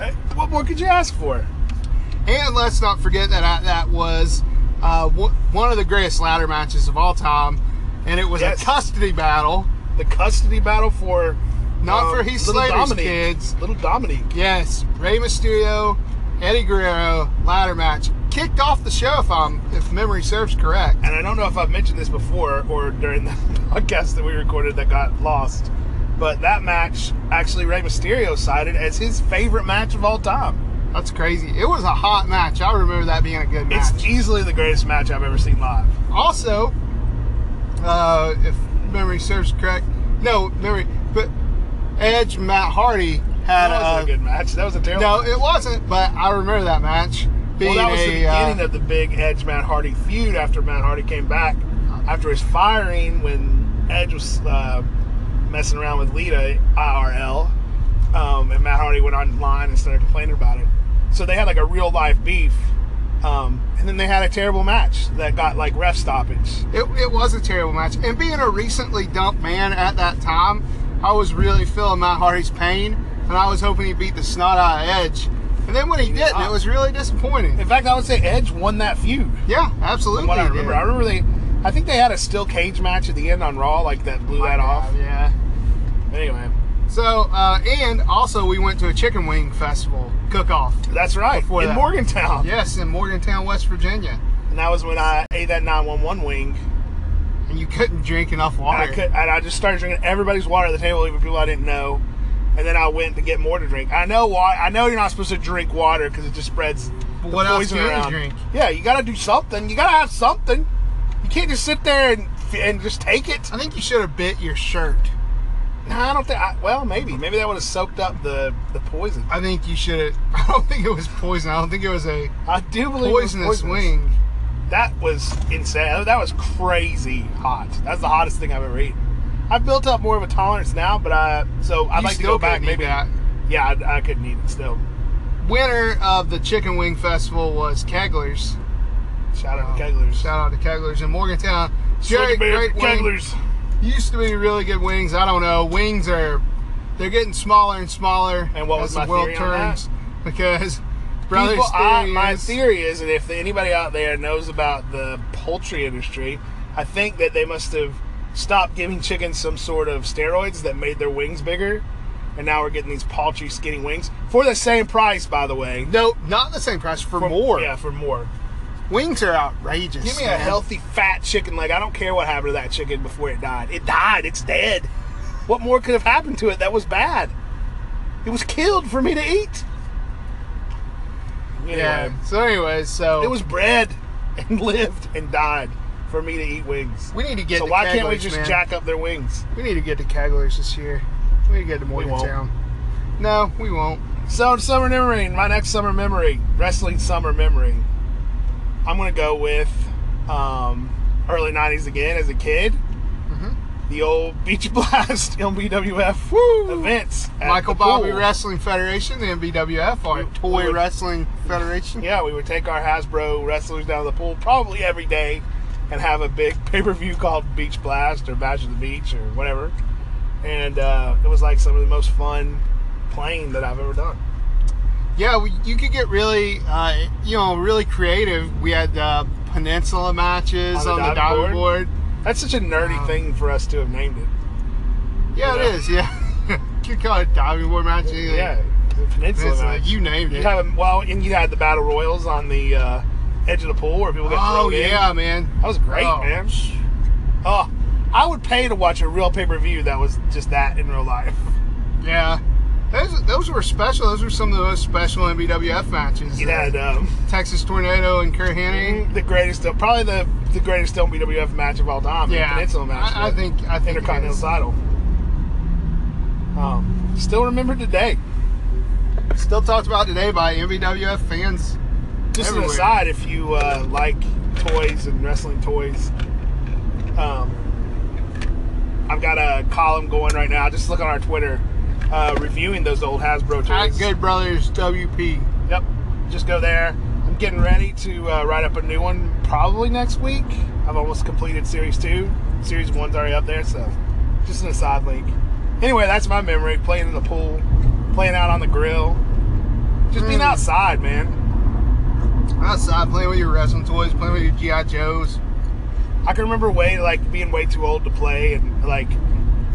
[SPEAKER 2] Uh, What more could you ask for?
[SPEAKER 1] And let's not forget that I, that was uh, w- one of the greatest ladder matches of all time, and it was
[SPEAKER 2] Yes.
[SPEAKER 1] a custody battle.
[SPEAKER 2] The custody battle for um,
[SPEAKER 1] Not for Heath
[SPEAKER 2] Little
[SPEAKER 1] Slater's
[SPEAKER 2] Dominique.
[SPEAKER 1] kids.
[SPEAKER 2] Little Dominique.
[SPEAKER 1] Yes, Rey Mysterio, Eddie Guerrero ladder match kicked off the show if I'm if memory serves correct.
[SPEAKER 2] And I don't know if I've mentioned this before or during the podcast that we recorded that got lost, but that match actually Rey Mysterio cited as his favorite match of all time.
[SPEAKER 1] That's crazy. It was a hot match. I remember that being a good match.
[SPEAKER 2] It's easily the greatest match I've ever seen live.
[SPEAKER 1] also, uh, if memory serves correct, no memory, but Edge Matt Hardy had
[SPEAKER 2] That wasn't
[SPEAKER 1] uh,
[SPEAKER 2] a good match. That was a terrible.
[SPEAKER 1] No,
[SPEAKER 2] match.
[SPEAKER 1] it wasn't, but I remember that match. Being
[SPEAKER 2] Well, that was the
[SPEAKER 1] a, uh,
[SPEAKER 2] beginning of the big Edge Matt Hardy feud after Matt Hardy came back after his firing when Edge was uh, messing around with Lita IRL, um, and Matt Hardy went online and started complaining about it. So they had like a real life beef, um, and then they had a terrible match that got like ref stoppage.
[SPEAKER 1] it, it was a terrible match. And being a recently dumped man at that time, I was really feeling Matt Hardy's pain, and I was hoping he beat the snot out of Edge. And then when he
[SPEAKER 2] did
[SPEAKER 1] didn't,
[SPEAKER 2] not.
[SPEAKER 1] it was really disappointing.
[SPEAKER 2] In fact, I would say Edge won that feud.
[SPEAKER 1] Yeah, absolutely.
[SPEAKER 2] From what I
[SPEAKER 1] he did.
[SPEAKER 2] remember, I remember they. I think they had a steel cage match at the end on Raw, like that blew that off.
[SPEAKER 1] Yeah.
[SPEAKER 2] Anyway,
[SPEAKER 1] So, uh, and also we went to a chicken wing festival cook-off.
[SPEAKER 2] that's right.
[SPEAKER 1] Before
[SPEAKER 2] in
[SPEAKER 1] that.
[SPEAKER 2] Morgantown.
[SPEAKER 1] Yes, in Morgantown, West Virginia.
[SPEAKER 2] and that was when I ate that 911 wing.
[SPEAKER 1] And you couldn't drink enough
[SPEAKER 2] And
[SPEAKER 1] water.
[SPEAKER 2] I could, and I just started drinking everybody's water at the table, even people I didn't know. And then I went to get more to drink. I know why. I know you're not supposed to drink water because it just spreads the
[SPEAKER 1] But what else
[SPEAKER 2] poison
[SPEAKER 1] can you
[SPEAKER 2] around.
[SPEAKER 1] drink?
[SPEAKER 2] Yeah, you got to do something. You got to have something. You can't just sit there and and just take it.
[SPEAKER 1] I think you should have bit your shirt.
[SPEAKER 2] No, I don't think. I, well, maybe maybe that would have soaked up the the poison.
[SPEAKER 1] I think you should have. I don't think it was poison. I don't think it was a
[SPEAKER 2] I do believe it was
[SPEAKER 1] poisonous wing.
[SPEAKER 2] That was insane. That was crazy hot. That's the hottest thing I've ever eaten. I've built up more of a tolerance now, but I so I'd
[SPEAKER 1] You
[SPEAKER 2] like to
[SPEAKER 1] still
[SPEAKER 2] go back.
[SPEAKER 1] couldn't eat
[SPEAKER 2] Maybe
[SPEAKER 1] that.
[SPEAKER 2] yeah, I, I couldn't eat it still.
[SPEAKER 1] Winner of the Chicken Wing Festival was Kegler's.
[SPEAKER 2] Shout out to
[SPEAKER 1] Um,
[SPEAKER 2] Keglers.
[SPEAKER 1] Shout out to Keglers in Morgantown. Jerry,
[SPEAKER 2] Sugar Bear
[SPEAKER 1] great wing.
[SPEAKER 2] Keglers.
[SPEAKER 1] Used to be really good wings. I don't know. Wings are they're getting smaller and smaller
[SPEAKER 2] And what was
[SPEAKER 1] as
[SPEAKER 2] my
[SPEAKER 1] the world
[SPEAKER 2] theory on
[SPEAKER 1] turns because brother's
[SPEAKER 2] People- I-
[SPEAKER 1] theory
[SPEAKER 2] my
[SPEAKER 1] is-
[SPEAKER 2] theory is that if anybody out there knows about the poultry industry, I think that they must have stopped giving chickens some sort of steroids that made their wings bigger, and now we're getting these paltry, skinny wings for the same price, by the way.
[SPEAKER 1] no, not the same price for,
[SPEAKER 2] For-
[SPEAKER 1] more.
[SPEAKER 2] yeah, for more.
[SPEAKER 1] Wings are outrageous.
[SPEAKER 2] Give me a
[SPEAKER 1] man.
[SPEAKER 2] healthy, fat chicken leg. I don't care what happened to that chicken before it died. It died. It's dead. What more could have happened to it that was bad? It was killed for me to eat. Anyway,
[SPEAKER 1] Yeah. So, anyways, so
[SPEAKER 2] It was bred and lived and died for me to eat wings.
[SPEAKER 1] we need to get.
[SPEAKER 2] so
[SPEAKER 1] to
[SPEAKER 2] why can't we
[SPEAKER 1] Keglers,
[SPEAKER 2] just
[SPEAKER 1] man.
[SPEAKER 2] jack up their wings?
[SPEAKER 1] We need to get to Keglers this year. We need to get to
[SPEAKER 2] won't.
[SPEAKER 1] Morgantown. No, we won't.
[SPEAKER 2] So summer memory, my next summer memory, wrestling summer memory. I'm gonna go with um, early '90s again as a kid.
[SPEAKER 1] Mm-hmm.
[SPEAKER 2] The old Beach Blast LBWF
[SPEAKER 1] Woo!
[SPEAKER 2] events. at
[SPEAKER 1] Michael
[SPEAKER 2] the
[SPEAKER 1] Bobby
[SPEAKER 2] pool.
[SPEAKER 1] Wrestling Federation, the MBWF, our
[SPEAKER 2] We-
[SPEAKER 1] toy
[SPEAKER 2] we would-
[SPEAKER 1] wrestling federation.
[SPEAKER 2] Yeah, we would take our Hasbro wrestlers down to the pool probably every day and have a big pay per view called Beach Blast or Bash of the Beach or whatever. And uh, it was like some of the most fun playing that I've ever done.
[SPEAKER 1] Yeah, we, you could get really, uh, you know, really creative. We had uh, peninsula matches on the, diving, board.
[SPEAKER 2] That's such a nerdy
[SPEAKER 1] Wow.
[SPEAKER 2] thing for us to have named it.
[SPEAKER 1] Yeah,
[SPEAKER 2] Yeah.
[SPEAKER 1] it is. Yeah, you could call it diving board match. anything.
[SPEAKER 2] Yeah, the peninsula.
[SPEAKER 1] Peninsula,
[SPEAKER 2] match.
[SPEAKER 1] you named
[SPEAKER 2] You
[SPEAKER 1] it.
[SPEAKER 2] have a, well, and you had the battle royals on the uh, edge of the pool where people get
[SPEAKER 1] oh
[SPEAKER 2] thrown in.
[SPEAKER 1] yeah, man.
[SPEAKER 2] That was great,
[SPEAKER 1] Oh.
[SPEAKER 2] man. Oh, I would pay to watch a real pay per view that was just that in real life.
[SPEAKER 1] Yeah, those those were special. Those were some of the most special MBWF matches. Uh,
[SPEAKER 2] You had um,
[SPEAKER 1] Texas Tornado and Kerr Hanning.
[SPEAKER 2] the greatest, probably the the greatest WWF match of all time. the
[SPEAKER 1] Yeah,
[SPEAKER 2] Mm-hmm. Peninsula match.
[SPEAKER 1] I, I
[SPEAKER 2] the
[SPEAKER 1] think I think it
[SPEAKER 2] Intercontinental
[SPEAKER 1] is.
[SPEAKER 2] title. Um, still remembered today.
[SPEAKER 1] still talked about today by MBWF fans.
[SPEAKER 2] Just
[SPEAKER 1] Everywhere.
[SPEAKER 2] an aside, if you uh, like toys and wrestling toys, um, I've got a column going right now. Just look on our Twitter, uh, reviewing those old Hasbro
[SPEAKER 1] At
[SPEAKER 2] toys.
[SPEAKER 1] Ah, Good Brothers WP.
[SPEAKER 2] Yep. Just go there. I'm getting ready to uh, write up a new one probably next week. I've almost completed series two. Series one's already up there, so just an aside link. Anyway, that's my memory playing in the pool, playing out on the grill, just being
[SPEAKER 1] Mm.
[SPEAKER 2] outside, man.
[SPEAKER 1] Outside playing with your wrestling toys, playing with your GI Joes.
[SPEAKER 2] I can remember way like being way too old to play, and like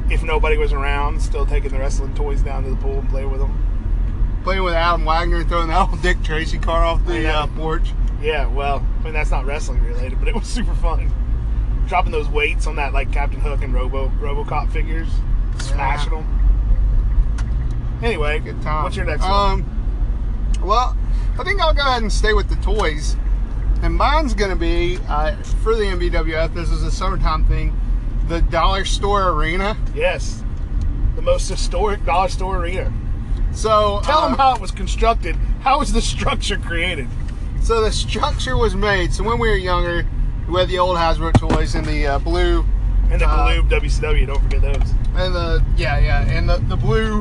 [SPEAKER 2] if nobody was around, still taking the wrestling toys down to the pool and playing with them.
[SPEAKER 1] playing with Adam Wagner, throwing that old Dick Tracy car off the
[SPEAKER 2] Yeah.
[SPEAKER 1] uh, porch.
[SPEAKER 2] Yeah, well, I mean that's not wrestling related, but it was super fun. Dropping those weights on that like Captain Hook and Robo RoboCop figures, smashing
[SPEAKER 1] Yeah.
[SPEAKER 2] them. Anyway,
[SPEAKER 1] Good time.
[SPEAKER 2] What's your next one?
[SPEAKER 1] Um, well, I think I'll go ahead and stay with the toys. And mine's going to be uh, for the MBWF. This is a summertime thing. The Dollar Store Arena.
[SPEAKER 2] Yes, the most historic dollar store arena.
[SPEAKER 1] So
[SPEAKER 2] Tell
[SPEAKER 1] uh,
[SPEAKER 2] them how it was constructed. How was the structure created?
[SPEAKER 1] So the structure was made. So when we were younger, we had the old Hasbro toys and the uh, blue
[SPEAKER 2] And the
[SPEAKER 1] Uh,
[SPEAKER 2] blue WCW. Don't forget those.
[SPEAKER 1] and the yeah yeah and the the blue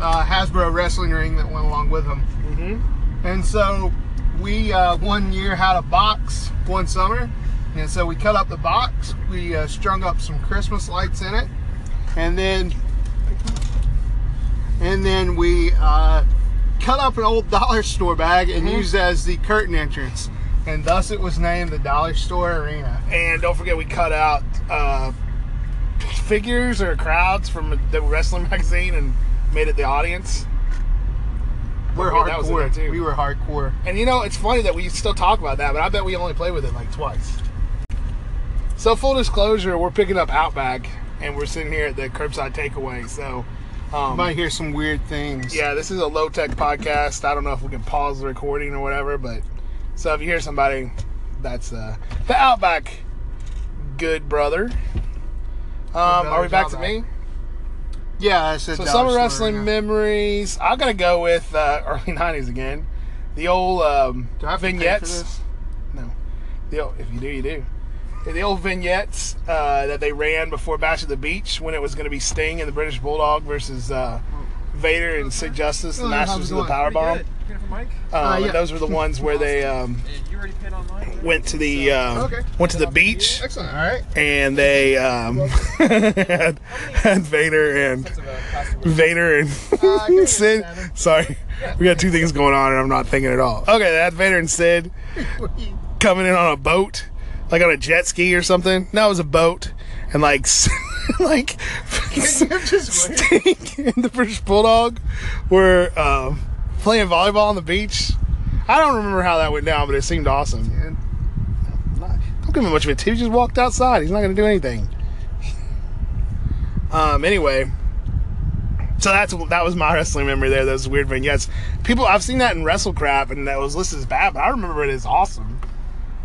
[SPEAKER 1] uh, Hasbro wrestling ring that went along with them.
[SPEAKER 2] Mm-hmm.
[SPEAKER 1] And so we uh, one year had a box one summer, and so we cut up the box. We uh, strung up some Christmas lights in it, and then and then we uh, cut up an old dollar store bag and
[SPEAKER 2] Mhm.
[SPEAKER 1] used it as the curtain entrance, and thus it was named the Dollar Store Arena.
[SPEAKER 2] And don't forget, we cut out uh, figures or crowds from the wrestling magazine and made it the audience.
[SPEAKER 1] We're
[SPEAKER 2] Okay, that was in there,
[SPEAKER 1] hardcore.
[SPEAKER 2] too.
[SPEAKER 1] We were hardcore.
[SPEAKER 2] And you know, it's funny that we still talk about that, but I bet we only play with it like twice. So full disclosure, we're picking up Outback, and we're sitting here at the curbside takeaway. So,
[SPEAKER 1] You
[SPEAKER 2] um,
[SPEAKER 1] might hear some weird things.
[SPEAKER 2] yeah, this is a low tech podcast. I don't know if we can pause the recording or whatever, but so if you hear somebody, that's uh, the Outback, good brother. Um, are we
[SPEAKER 1] brother's
[SPEAKER 2] back to
[SPEAKER 1] Outback.
[SPEAKER 2] me?
[SPEAKER 1] yeah. I said
[SPEAKER 2] So
[SPEAKER 1] Dollar
[SPEAKER 2] summer
[SPEAKER 1] Store
[SPEAKER 2] wrestling
[SPEAKER 1] Arena.
[SPEAKER 2] memories. I'm gonna go with uh, early '90s again. The old um,
[SPEAKER 1] Do I have to pay for
[SPEAKER 2] vignettes.
[SPEAKER 1] this?
[SPEAKER 2] No. The old, if you do, you do. The old vignettes uh, that they ran before Bash at the Beach when it was going to be Sting and the British Bulldog versus uh, Vader and Sid Justice, the
[SPEAKER 1] Oh, how's
[SPEAKER 2] Masters
[SPEAKER 1] it
[SPEAKER 2] of
[SPEAKER 1] going?
[SPEAKER 2] the
[SPEAKER 1] Pretty
[SPEAKER 2] Powerbomb.
[SPEAKER 1] good. Uh,
[SPEAKER 3] Pin for Mike?
[SPEAKER 2] Um, and
[SPEAKER 1] yeah.
[SPEAKER 2] Those were the ones where they um,
[SPEAKER 3] Yeah, you already pinned on mine.
[SPEAKER 2] went to the um,
[SPEAKER 1] Okay.
[SPEAKER 2] went to the beach
[SPEAKER 1] Excellent. All right.
[SPEAKER 2] and they um, had, had Vader and
[SPEAKER 3] It's about past the-
[SPEAKER 2] Vader and
[SPEAKER 1] Uh, I can't
[SPEAKER 2] Sid.
[SPEAKER 1] understand him.
[SPEAKER 2] Sorry, we got two things going on, and I'm not thinking at all. Okay, that Vader and Sid coming in on a boat, like on a jet ski or something. No, it was a boat, and like s- like
[SPEAKER 1] You're just weird.
[SPEAKER 2] Stink and the British Bulldog were um, playing volleyball on the beach. I don't remember how that went down, but it seemed awesome. man. Not- Don't give him much of a tip. He just walked outside. He's not going to do anything. Um. Anyway, so that's that was my wrestling memory there. Those weird vignettes. People, I've seen that in WrestleCrap, and that was listed as bad, but I remember it as awesome.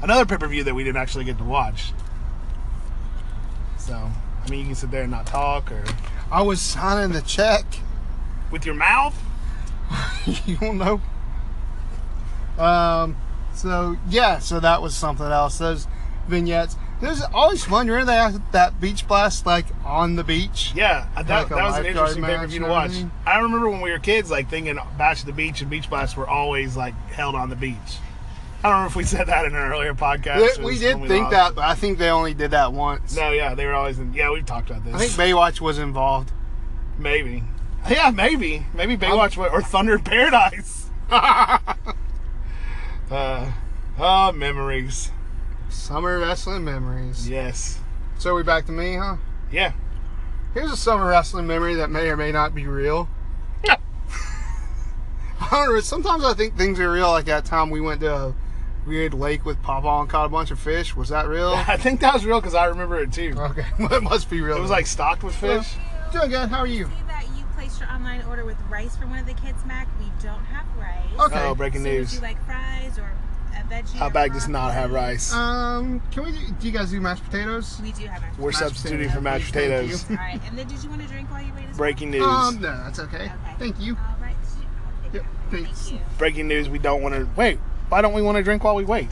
[SPEAKER 2] Another pay per view that we didn't actually get to watch. So, I mean, you can sit there and not talk or
[SPEAKER 1] I was signing the check.
[SPEAKER 2] with your mouth.
[SPEAKER 1] you don't know. Um, so yeah, so that was something else. Those vignettes. There's always fun. Remember they had that beach blast like on the beach.
[SPEAKER 2] Yeah, that,
[SPEAKER 1] Like a
[SPEAKER 2] that was an
[SPEAKER 1] lifeguard
[SPEAKER 2] interesting
[SPEAKER 1] match
[SPEAKER 2] pay per view to
[SPEAKER 1] or
[SPEAKER 2] watch.
[SPEAKER 1] anything?
[SPEAKER 2] I remember when we were kids, like thinking Bash at the Beach and Beach Blast were always like held on the beach. I don't know if we said that in an earlier podcast.
[SPEAKER 1] We-
[SPEAKER 2] or
[SPEAKER 1] we
[SPEAKER 2] just
[SPEAKER 1] did
[SPEAKER 2] when
[SPEAKER 1] think
[SPEAKER 2] lost.
[SPEAKER 1] that, but I think they only did that once.
[SPEAKER 2] No, yeah, they were always in. Yeah, we've talked about this.
[SPEAKER 1] I think Baywatch was involved.
[SPEAKER 2] maybe. Yeah, maybe. Maybe Baywatch wa- or Thunder in Paradise. uh, oh, memories.
[SPEAKER 1] Summer wrestling memories.
[SPEAKER 2] Yes.
[SPEAKER 1] So we back to me, huh?
[SPEAKER 2] Yeah.
[SPEAKER 1] Here's a summer wrestling memory that may or may not be real.
[SPEAKER 2] Yeah.
[SPEAKER 1] I don't know. Sometimes I think things are real. Like that time we went to a weird lake with Papa and caught a bunch of fish. Was that real?
[SPEAKER 2] I think that was real because I remember it too.
[SPEAKER 1] okay, well, it must be real.
[SPEAKER 2] It was like stocked with
[SPEAKER 1] Hello.
[SPEAKER 2] fish.
[SPEAKER 1] doing good. How are you?
[SPEAKER 4] see that you placed your online order with rice for one of the kids, Mac. We don't have rice.
[SPEAKER 1] Okay.
[SPEAKER 2] Oh, breaking
[SPEAKER 4] So would
[SPEAKER 2] news.
[SPEAKER 4] you like fries or a veggie?
[SPEAKER 2] Our
[SPEAKER 4] or
[SPEAKER 2] bag does
[SPEAKER 4] broccoli?
[SPEAKER 2] not have rice.
[SPEAKER 1] Um, can we? Do, do you guys do mashed potatoes?
[SPEAKER 4] We do have mashed
[SPEAKER 2] We're
[SPEAKER 4] potatoes.
[SPEAKER 2] substituting for mashed
[SPEAKER 1] Thank you.
[SPEAKER 2] potatoes.
[SPEAKER 4] All right. And then did you want to drink while you wait as
[SPEAKER 2] Breaking news.
[SPEAKER 1] Um, no, that's okay.
[SPEAKER 4] well? Okay.
[SPEAKER 1] Thank you.
[SPEAKER 4] All right. so you- I'll take
[SPEAKER 1] Yep,
[SPEAKER 4] that one.
[SPEAKER 1] thanks.
[SPEAKER 4] Thank you.
[SPEAKER 2] Breaking news. We don't want to wait. Why don't we want to drink while we wait?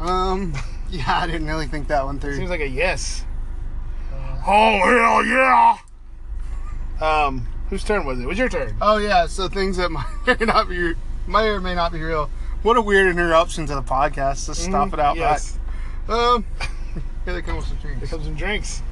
[SPEAKER 1] Um, yeah, I didn't really think that one through.
[SPEAKER 2] Seems like a yes.
[SPEAKER 1] Uh,
[SPEAKER 2] Oh hell yeah! Um, whose turn was it? It was your turn.
[SPEAKER 1] oh yeah, so things that might or not be may or may not be real. What a weird interruption to the podcast. Let's stop it out.
[SPEAKER 2] Mm-hmm. Yes.
[SPEAKER 1] back. Um, here they come with some
[SPEAKER 2] Here
[SPEAKER 1] drinks.
[SPEAKER 2] comes some drinks.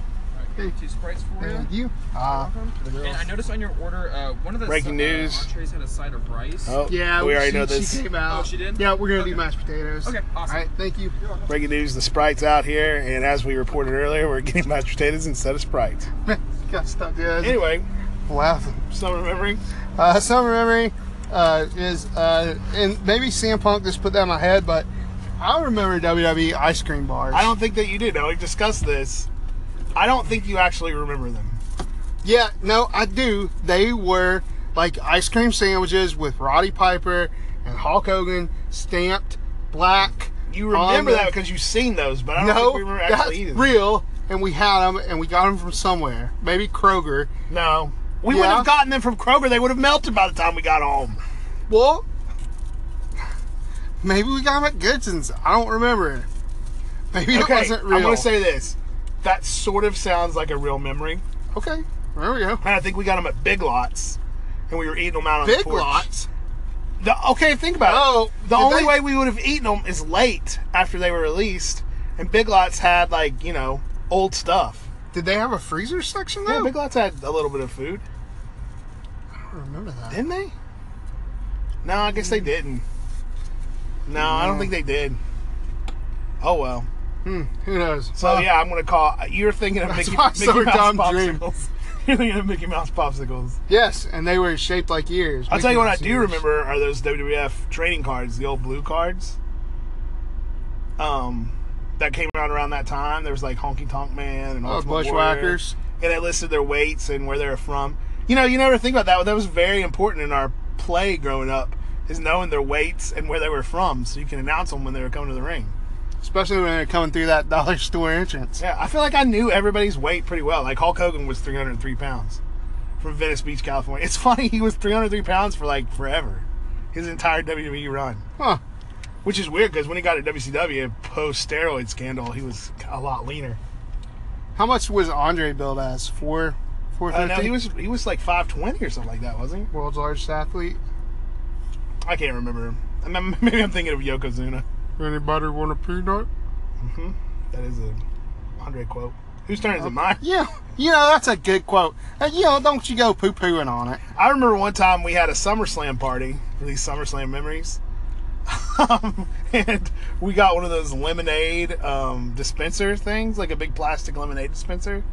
[SPEAKER 3] Alright, Two sprites for you.
[SPEAKER 1] And you? Ah,
[SPEAKER 3] And I noticed on your order, uh, one of the
[SPEAKER 2] Breaking
[SPEAKER 3] uh,
[SPEAKER 2] news.
[SPEAKER 3] entrees had a side of rice.
[SPEAKER 2] Oh
[SPEAKER 1] yeah.
[SPEAKER 2] We already
[SPEAKER 1] she-
[SPEAKER 2] know
[SPEAKER 1] she
[SPEAKER 2] this.
[SPEAKER 1] came out.
[SPEAKER 3] Oh, she did?
[SPEAKER 1] Yeah, we're gonna do
[SPEAKER 3] Okay.
[SPEAKER 1] mashed potatoes.
[SPEAKER 3] Okay, awesome.
[SPEAKER 1] All right, thank you.
[SPEAKER 2] Breaking news. The Sprite's out here, and as we reported earlier, we're getting mashed potatoes instead of Sprite.
[SPEAKER 1] Got stuck. Yeah, it's
[SPEAKER 2] Anyway,
[SPEAKER 1] laughing.
[SPEAKER 2] some remembering.
[SPEAKER 1] Uh, summer memory uh, is, uh, and maybe CM Punk just put that in my head, but I remember WWE ice cream bars.
[SPEAKER 2] I don't think that you did. Now we discussed this. I don't think you actually remember them.
[SPEAKER 1] Yeah, no, I do. They were like ice cream sandwiches with Roddy Piper and Hulk Hogan stamped black.
[SPEAKER 2] You
[SPEAKER 1] on
[SPEAKER 2] remember
[SPEAKER 1] the-
[SPEAKER 2] that because you've seen those, but I don't think
[SPEAKER 1] No,
[SPEAKER 2] we remember
[SPEAKER 1] that's
[SPEAKER 2] actually eating. them.
[SPEAKER 1] real. And we had them, and we got them from somewhere. Maybe Kroger.
[SPEAKER 2] No. We
[SPEAKER 1] Yeah.
[SPEAKER 2] wouldn't have gotten them from Kroger. They would have melted by the time we got home.
[SPEAKER 1] Well, maybe we got them at Goodson's. I don't remember. Maybe it wasn't real.
[SPEAKER 2] I'm going to say this. That sort of sounds like a real memory.
[SPEAKER 1] okay. There we go.
[SPEAKER 2] And I think we got them at Big Lots, and we were eating them out on the
[SPEAKER 1] Big
[SPEAKER 2] porch.
[SPEAKER 1] lots.
[SPEAKER 2] The- okay, think about
[SPEAKER 1] Oh,
[SPEAKER 2] it. The
[SPEAKER 1] did
[SPEAKER 2] only
[SPEAKER 1] they-
[SPEAKER 2] way we would have eaten them is late after they were released, and Big Lots had like you know old stuff.
[SPEAKER 1] Did they have a freezer section
[SPEAKER 2] Yeah,
[SPEAKER 1] though?
[SPEAKER 2] Big Lots had a little bit of food,
[SPEAKER 1] I don't remember that.
[SPEAKER 2] didn't they? No, I guess they didn't. No, I don't think they did. Oh well.
[SPEAKER 1] Who knows?
[SPEAKER 2] So
[SPEAKER 1] Uh,
[SPEAKER 2] yeah, I'm gonna call. You're thinking of Mickey,
[SPEAKER 1] why it's
[SPEAKER 2] Mickey
[SPEAKER 1] so
[SPEAKER 2] Mouse
[SPEAKER 1] dumb dream.
[SPEAKER 2] popsicles. You're thinking of Mickey Mouse popsicles.
[SPEAKER 1] Yes, and they were shaped like ears.
[SPEAKER 2] I'll tell
[SPEAKER 1] Mickey
[SPEAKER 2] you what I
[SPEAKER 1] Mouse
[SPEAKER 2] do
[SPEAKER 1] ears.
[SPEAKER 2] remember are those WWF trading cards, the old blue cards. Um, that came around around that time. There was like Honky Tonk Man and
[SPEAKER 1] Oh,
[SPEAKER 2] Ultimate Warrior.
[SPEAKER 1] Bushwhackers.
[SPEAKER 2] and it listed their weights and where they were from. You know, you never think about that. That was very important in our play growing up, is knowing their weights and where they were from, so you can announce them when they were coming to the ring.
[SPEAKER 1] Especially when they're coming through that dollar store entrance.
[SPEAKER 2] Yeah, I feel like I knew everybody's weight pretty well. Like Hulk Hogan was 303 pounds from Venice Beach, California. It's funny he was 303 pounds for like forever, his entire WWE run,
[SPEAKER 1] Huh.
[SPEAKER 2] which is weird because when he got at WCW post steroid scandal, he was a lot leaner.
[SPEAKER 1] How much was Andre billed as? Four, four
[SPEAKER 2] Uh, no,
[SPEAKER 1] fifty.
[SPEAKER 2] he was he was like 520 or something like that, wasn't
[SPEAKER 1] world's largest athlete.
[SPEAKER 2] he? I can't remember. I mean, maybe I'm thinking of Yokozuna. Mm-hmm.
[SPEAKER 1] Anybody want a peanut?
[SPEAKER 2] That is a Andre quote. Whose turn is it? Mine.
[SPEAKER 1] Yeah, you know that's a good quote. And, you know, don't you go poo pooing on it.
[SPEAKER 2] I remember one time we had a SummerSlam party for these SummerSlam memories. Um, and we got one of those lemonade um, dispenser things, like a big plastic lemonade dispenser.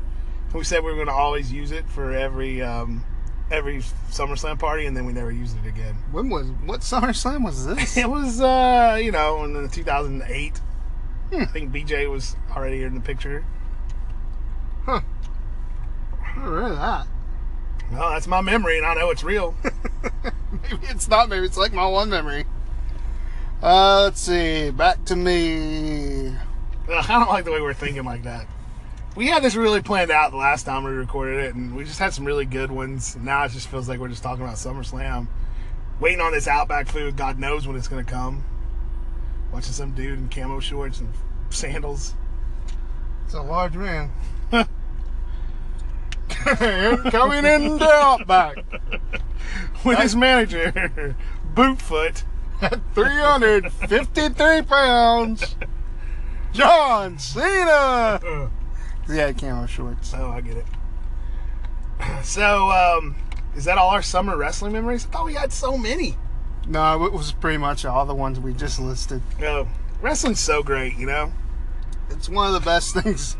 [SPEAKER 2] And we said we were going to always use it for every um, every SummerSlam party, and then we never used it again.
[SPEAKER 1] When was what SummerSlam was this?
[SPEAKER 2] It was, uh, you know, in the 2008. Hmm, I think BJ was already in the picture.
[SPEAKER 1] huh? I don't remember that.
[SPEAKER 2] Well, that's my memory, and I know it's real.
[SPEAKER 1] Maybe it's not. Maybe it's like my one memory. Uh, let's see. Back to me.
[SPEAKER 2] Ugh, I don't like the way we're thinking like that. We had this really planned out the last time we recorded it, and we just had some really good ones. Now it just feels like we're just talking about SummerSlam, waiting on this Outback food. God knows when it's gonna come. Watching some dude in camo shorts and sandals.
[SPEAKER 1] It's a large man. Coming in the outback.
[SPEAKER 2] With his manager, Bootfoot.
[SPEAKER 1] 353 pounds. John Cena.
[SPEAKER 2] Ugh.
[SPEAKER 1] Yeah, camo shorts.
[SPEAKER 2] Oh, I get it. So, um, is that all our summer wrestling memories? I thought we had so many.
[SPEAKER 1] No, it was pretty much all the ones we just listed.
[SPEAKER 2] Oh, wrestling's so great, you know.
[SPEAKER 1] It's one of the best things.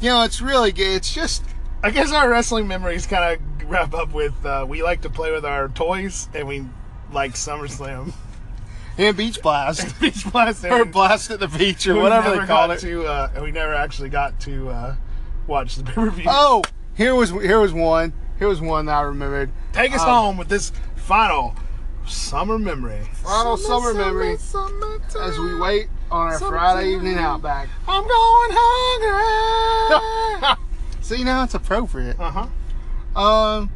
[SPEAKER 1] You know, it's really good. It's just
[SPEAKER 2] I guess our wrestling memories kind of wrap up with uh, we like to play with our toys and we like SummerSlam,
[SPEAKER 1] and beach blast
[SPEAKER 2] Beach Blast,
[SPEAKER 1] or
[SPEAKER 2] and
[SPEAKER 1] blast at the beach or
[SPEAKER 2] we
[SPEAKER 1] whatever
[SPEAKER 2] never
[SPEAKER 1] they call
[SPEAKER 2] got
[SPEAKER 1] it.
[SPEAKER 2] To, uh, and we never actually got to uh, watch the pay per view.
[SPEAKER 1] Oh, here was here was one. Here was one that I remembered.
[SPEAKER 2] Take us
[SPEAKER 1] um,
[SPEAKER 2] home with this final summer memory.
[SPEAKER 1] Final summer, memory as we wait on our Friday evening outback.
[SPEAKER 2] I'm going hungry.
[SPEAKER 1] See now it's appropriate.
[SPEAKER 2] uh huh.
[SPEAKER 1] Um,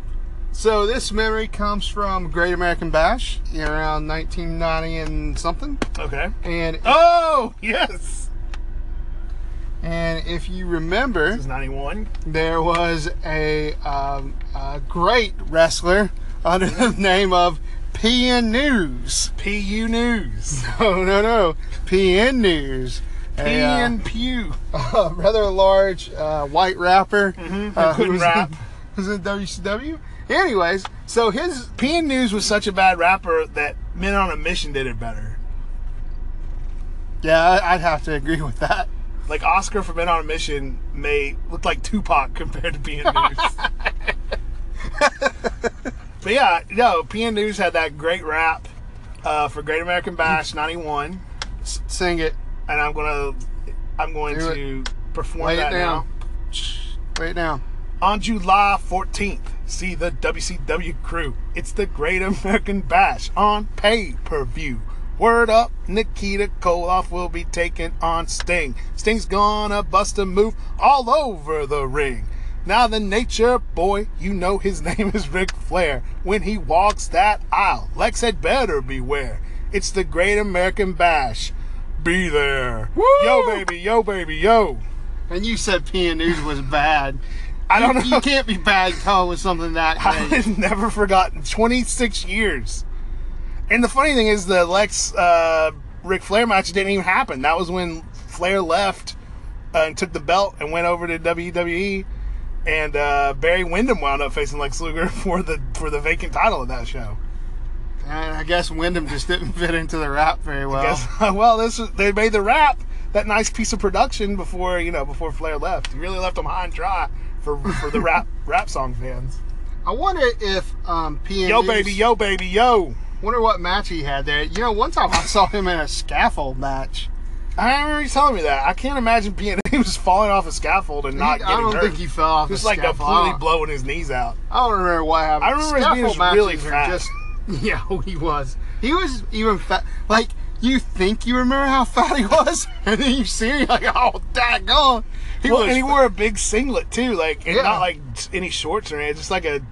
[SPEAKER 1] so this memory comes from Great American Bash around 1990 and something.
[SPEAKER 2] Okay.
[SPEAKER 1] And
[SPEAKER 2] Oh yes.
[SPEAKER 1] and if you remember,
[SPEAKER 2] This is '91.
[SPEAKER 1] there was a, um, a great wrestler under the name of PN News.
[SPEAKER 2] PU News.
[SPEAKER 1] Oh no no, PN News. A, uh,
[SPEAKER 2] PN Pew.
[SPEAKER 1] a rather large uh, white rapper uh,
[SPEAKER 2] Mm-hmm. couldn't
[SPEAKER 1] was
[SPEAKER 2] rap.
[SPEAKER 1] In, was in WCW. Anyways, so his
[SPEAKER 2] PN News was such a bad rapper that Men on a Mission did it better.
[SPEAKER 1] yeah, I- I'd have to agree with that.
[SPEAKER 2] Like Oscar from Men on a Mission may look like Tupac compared to PN News. but yeah, no, PN News had that great rap uh, for Great American Bash '91,
[SPEAKER 1] S- sing it.
[SPEAKER 2] and I'm gonna I'm going
[SPEAKER 1] Do it.
[SPEAKER 2] to perform
[SPEAKER 1] Lay
[SPEAKER 2] that
[SPEAKER 1] it
[SPEAKER 2] now.
[SPEAKER 1] down. Right now.
[SPEAKER 2] On July 14th, see the WCW crew. It's the Great American Bash on pay per view. Word up, Nikita Koloff will be taking on Sting. Sting's gonna bust a move all over the ring. Now, the nature boy, you know his name is Ric Flair. When he walks that aisle, Lex had better beware. It's the Great American Bash. Be there.
[SPEAKER 1] Woo!
[SPEAKER 2] Yo, baby, yo, baby, yo.
[SPEAKER 1] And you said PN News was bad.
[SPEAKER 2] I don't know.
[SPEAKER 1] You can't be bad calling with something that great.
[SPEAKER 2] I've never forgotten. 26 years. And the funny thing is, the Lex uh, Ric Flair match didn't even happen. That was when Flair left uh, and took the belt and went over to WWE. And uh, Barry Windham wound up facing Lex Luger for the for the vacant title of that show.
[SPEAKER 1] And I guess Wyndham just didn't fit into the rap very well.
[SPEAKER 2] Guess- well, this was, they made the rap that nice piece of production before you know before Flair left. He really left them high and dry for for the rap rap song fans.
[SPEAKER 1] I wonder if um, PN
[SPEAKER 2] Yo
[SPEAKER 1] News-
[SPEAKER 2] baby, yo baby, yo.
[SPEAKER 1] Wonder what match he had there. You know, one time I saw him in a scaffold match.
[SPEAKER 2] I remember you telling me that. I can't imagine being he was falling off a scaffold and not
[SPEAKER 1] He-
[SPEAKER 2] getting
[SPEAKER 1] I don't
[SPEAKER 2] hurt.
[SPEAKER 1] think he fell off.
[SPEAKER 2] just
[SPEAKER 1] the
[SPEAKER 2] like
[SPEAKER 1] scaffold.
[SPEAKER 2] completely blowing his knees out.
[SPEAKER 1] I don't remember what happened.
[SPEAKER 2] I remember his being
[SPEAKER 1] Scaffold
[SPEAKER 2] really
[SPEAKER 1] matches are
[SPEAKER 2] fat.
[SPEAKER 1] Just, yeah, he was. He was even fat. Like you think you remember how fat he was, and then you see him you're like, oh, daggone. He
[SPEAKER 2] well,
[SPEAKER 1] was.
[SPEAKER 2] and he
[SPEAKER 1] fat.
[SPEAKER 2] wore a big singlet too, like and
[SPEAKER 1] Yeah.
[SPEAKER 2] not like any shorts or anything. Just like a,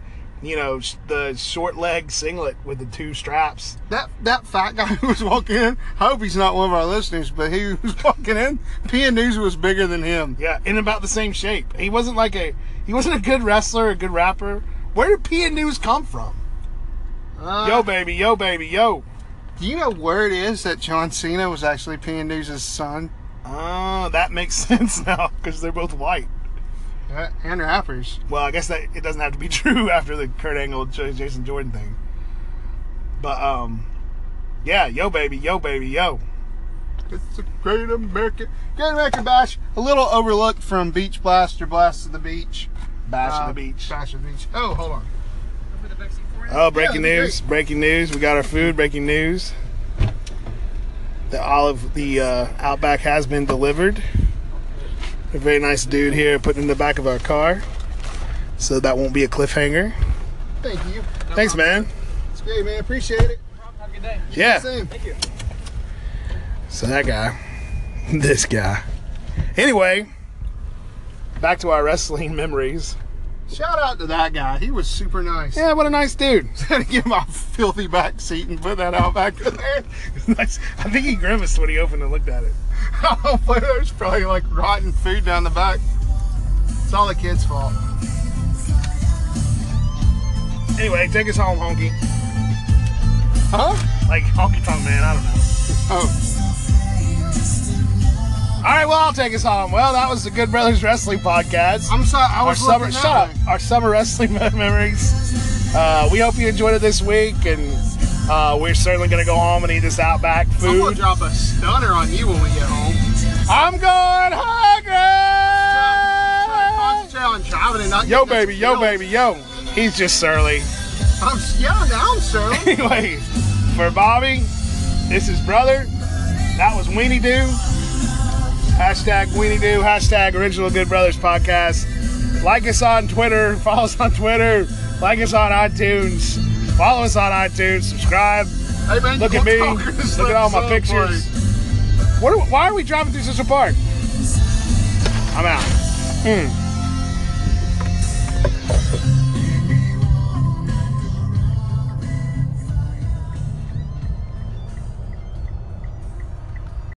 [SPEAKER 2] you know, sh- the short leg singlet with the two straps.
[SPEAKER 1] that that fat guy who was walking in. I hope he's not one of our listeners, but he was walking in. PN News was bigger than him.
[SPEAKER 2] Yeah, in about the same shape. He wasn't like a he wasn't a good wrestler, a good rapper. Where did P and News come from?
[SPEAKER 1] Uh,
[SPEAKER 2] yo baby, yo baby, yo.
[SPEAKER 1] Do you know where it is that John Cena was actually Panduza's son?
[SPEAKER 2] Oh, that makes sense now because they're both white.
[SPEAKER 1] Yeah, and rappers.
[SPEAKER 2] Well, I guess that it doesn't have to be true after the Kurt Angle J- Jason Jordan thing. But um, yeah, yo baby, yo baby, yo.
[SPEAKER 1] It's a great American, great American bash. A little overlooked from Beach Blaster, Blast to the Beach,
[SPEAKER 2] Bash
[SPEAKER 1] Uh,
[SPEAKER 2] of the beach.
[SPEAKER 1] Bash to the Beach. Oh, hold on.
[SPEAKER 3] Put the vaccine for it.
[SPEAKER 2] Oh, breaking
[SPEAKER 1] Yeah,
[SPEAKER 2] news! Breaking news! We got our food. Breaking news! The olive, the uh, Outback has been delivered. A very nice dude here putting it in the back of our car, so that won't be a cliffhanger.
[SPEAKER 1] Thank you.
[SPEAKER 2] Thanks, man.
[SPEAKER 1] It's great, man. Appreciate it.
[SPEAKER 3] Have a good day.
[SPEAKER 2] Yeah.
[SPEAKER 1] Same.
[SPEAKER 3] Thank you.
[SPEAKER 2] So that guy, this guy. Anyway, back to our wrestling memories.
[SPEAKER 1] Shout out to that guy. He was super nice.
[SPEAKER 2] Yeah, what a nice dude.
[SPEAKER 1] Had to give my filthy back seat and put that out back in there.
[SPEAKER 2] nice. I think he grimaced when he opened and looked at it.
[SPEAKER 1] Oh, boy, there's probably like rotten food down the back. It's all the kid's fault.
[SPEAKER 2] Anyway, take us home, honky.
[SPEAKER 1] Huh?
[SPEAKER 2] Like honky tonk man. I don't know.
[SPEAKER 1] Oh,
[SPEAKER 2] All right, well, I'll take us home. Well, that was the Good Brothers Wrestling Podcast.
[SPEAKER 1] I'm sorry. I
[SPEAKER 2] our
[SPEAKER 1] was
[SPEAKER 2] summer,
[SPEAKER 1] looking
[SPEAKER 2] shut
[SPEAKER 1] that
[SPEAKER 2] up.
[SPEAKER 1] way.
[SPEAKER 2] Our summer wrestling memories. Uh, we hope you enjoyed it this week, and uh, we're certainly going to go home and eat this Outback
[SPEAKER 1] I'm gonna
[SPEAKER 2] food.
[SPEAKER 1] drop a stunner on you when we get home.
[SPEAKER 2] I'm going hungry.
[SPEAKER 1] Concentrate on driving and not
[SPEAKER 2] Yo,
[SPEAKER 1] getting
[SPEAKER 2] baby,
[SPEAKER 1] us
[SPEAKER 2] yo,
[SPEAKER 1] killed.
[SPEAKER 2] baby, yo. He's just surly.
[SPEAKER 1] I'm yeah, now I'm sure.
[SPEAKER 2] Anyway, for Bobby, this is brother. That was Weenie Doo. Hashtag Weenie Doo. Hashtag Original Good Brothers Podcast. Like us on Twitter. Follow us on Twitter. Like us on iTunes. Follow us on iTunes. Subscribe.
[SPEAKER 1] Hey man,
[SPEAKER 2] Look
[SPEAKER 1] you
[SPEAKER 2] at me.
[SPEAKER 1] won't talk this
[SPEAKER 2] Look at all my
[SPEAKER 1] episode, boy.
[SPEAKER 2] pictures. What are, why are we driving through Central Park? I'm out. Mm.